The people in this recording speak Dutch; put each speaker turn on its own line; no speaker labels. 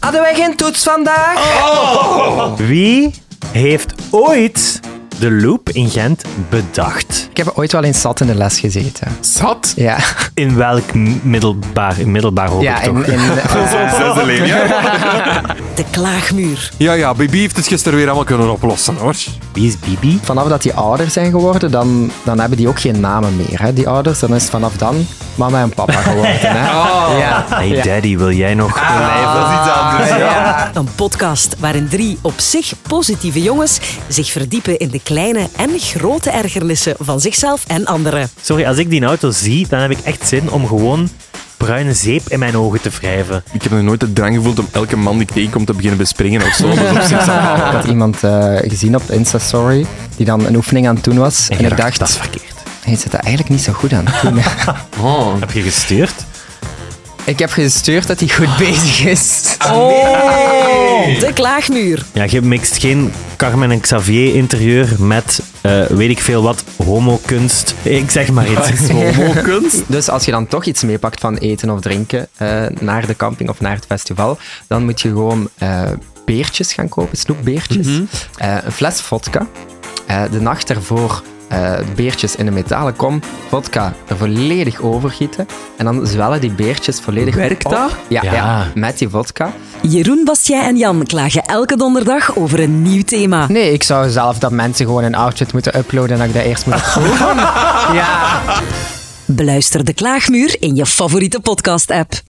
Hadden wij geen toets vandaag?
Wie heeft ooit de loop in Gent bedacht?
Ik heb ooit wel eens zat in de les gezeten.
Zat?
Ja,
In welk middelbaar, in middelbaar hoop
ja
ik toch?
in, in, eh,
Zesde leven, ja.
De klaagmuur.
Ja, ja, Bibi heeft het gisteren weer allemaal kunnen oplossen, hoor.
Wie is Bibi?
vanaf dat die ouder zijn geworden, dan, dan hebben die ook geen namen meer. Hè? Die ouders, dan is het vanaf dan mama en papa geworden. Hè? Ja. Ah.
Hey daddy, wil jij nog
Dat is iets anders, ja.
Een podcast waarin drie op zich positieve jongens zich verdiepen in de kleine en grote ergernissen van zichzelf en anderen.
Sorry, als ik die auto zie, dan heb ik echt zin om gewoon bruine zeep in mijn ogen te wrijven.
Ik heb nog nooit de drang gevoeld om elke man die ik tegenkom te beginnen bespringen of zo. Dat is op zichzelf.
Ik had iemand eh, gezien op Insta-story die dan een oefening aan het doen was. En, ik dacht,
dat is verkeerd.
hij zit er eigenlijk niet zo goed aan het doen.
Oh.
Heb je gestuurd?
ik heb gestuurd dat hij goed bezig is.
De klaagmuur.
Ja, je mixt geen Carmen en Xavier interieur met eh, weet ik veel wat, homokunst. Ik zeg maar iets.
Homokunst?
Dus als je dan toch iets meepakt van eten of drinken eh, naar de camping of naar het festival, dan moet je gewoon eh, beertjes gaan kopen, snoepbeertjes,
Mhm.
Eh, een fles vodka. Eh, de nacht ervoor eh, de beertjes in een metalen kom, vodka er volledig overgieten. En dan zwellen die beertjes volledig
Werkt
op.
dat?
Ja, ja.
Ja.
met die vodka.
Jeroen, Bastien en Jan klagen elke donderdag over een nieuw thema.
Nee, ik zou zelf dat mensen gewoon een outfit moeten uploaden en dat ik dat eerst moet proeven. ja.
Beluister de klaagmuur in je favoriete podcast-app.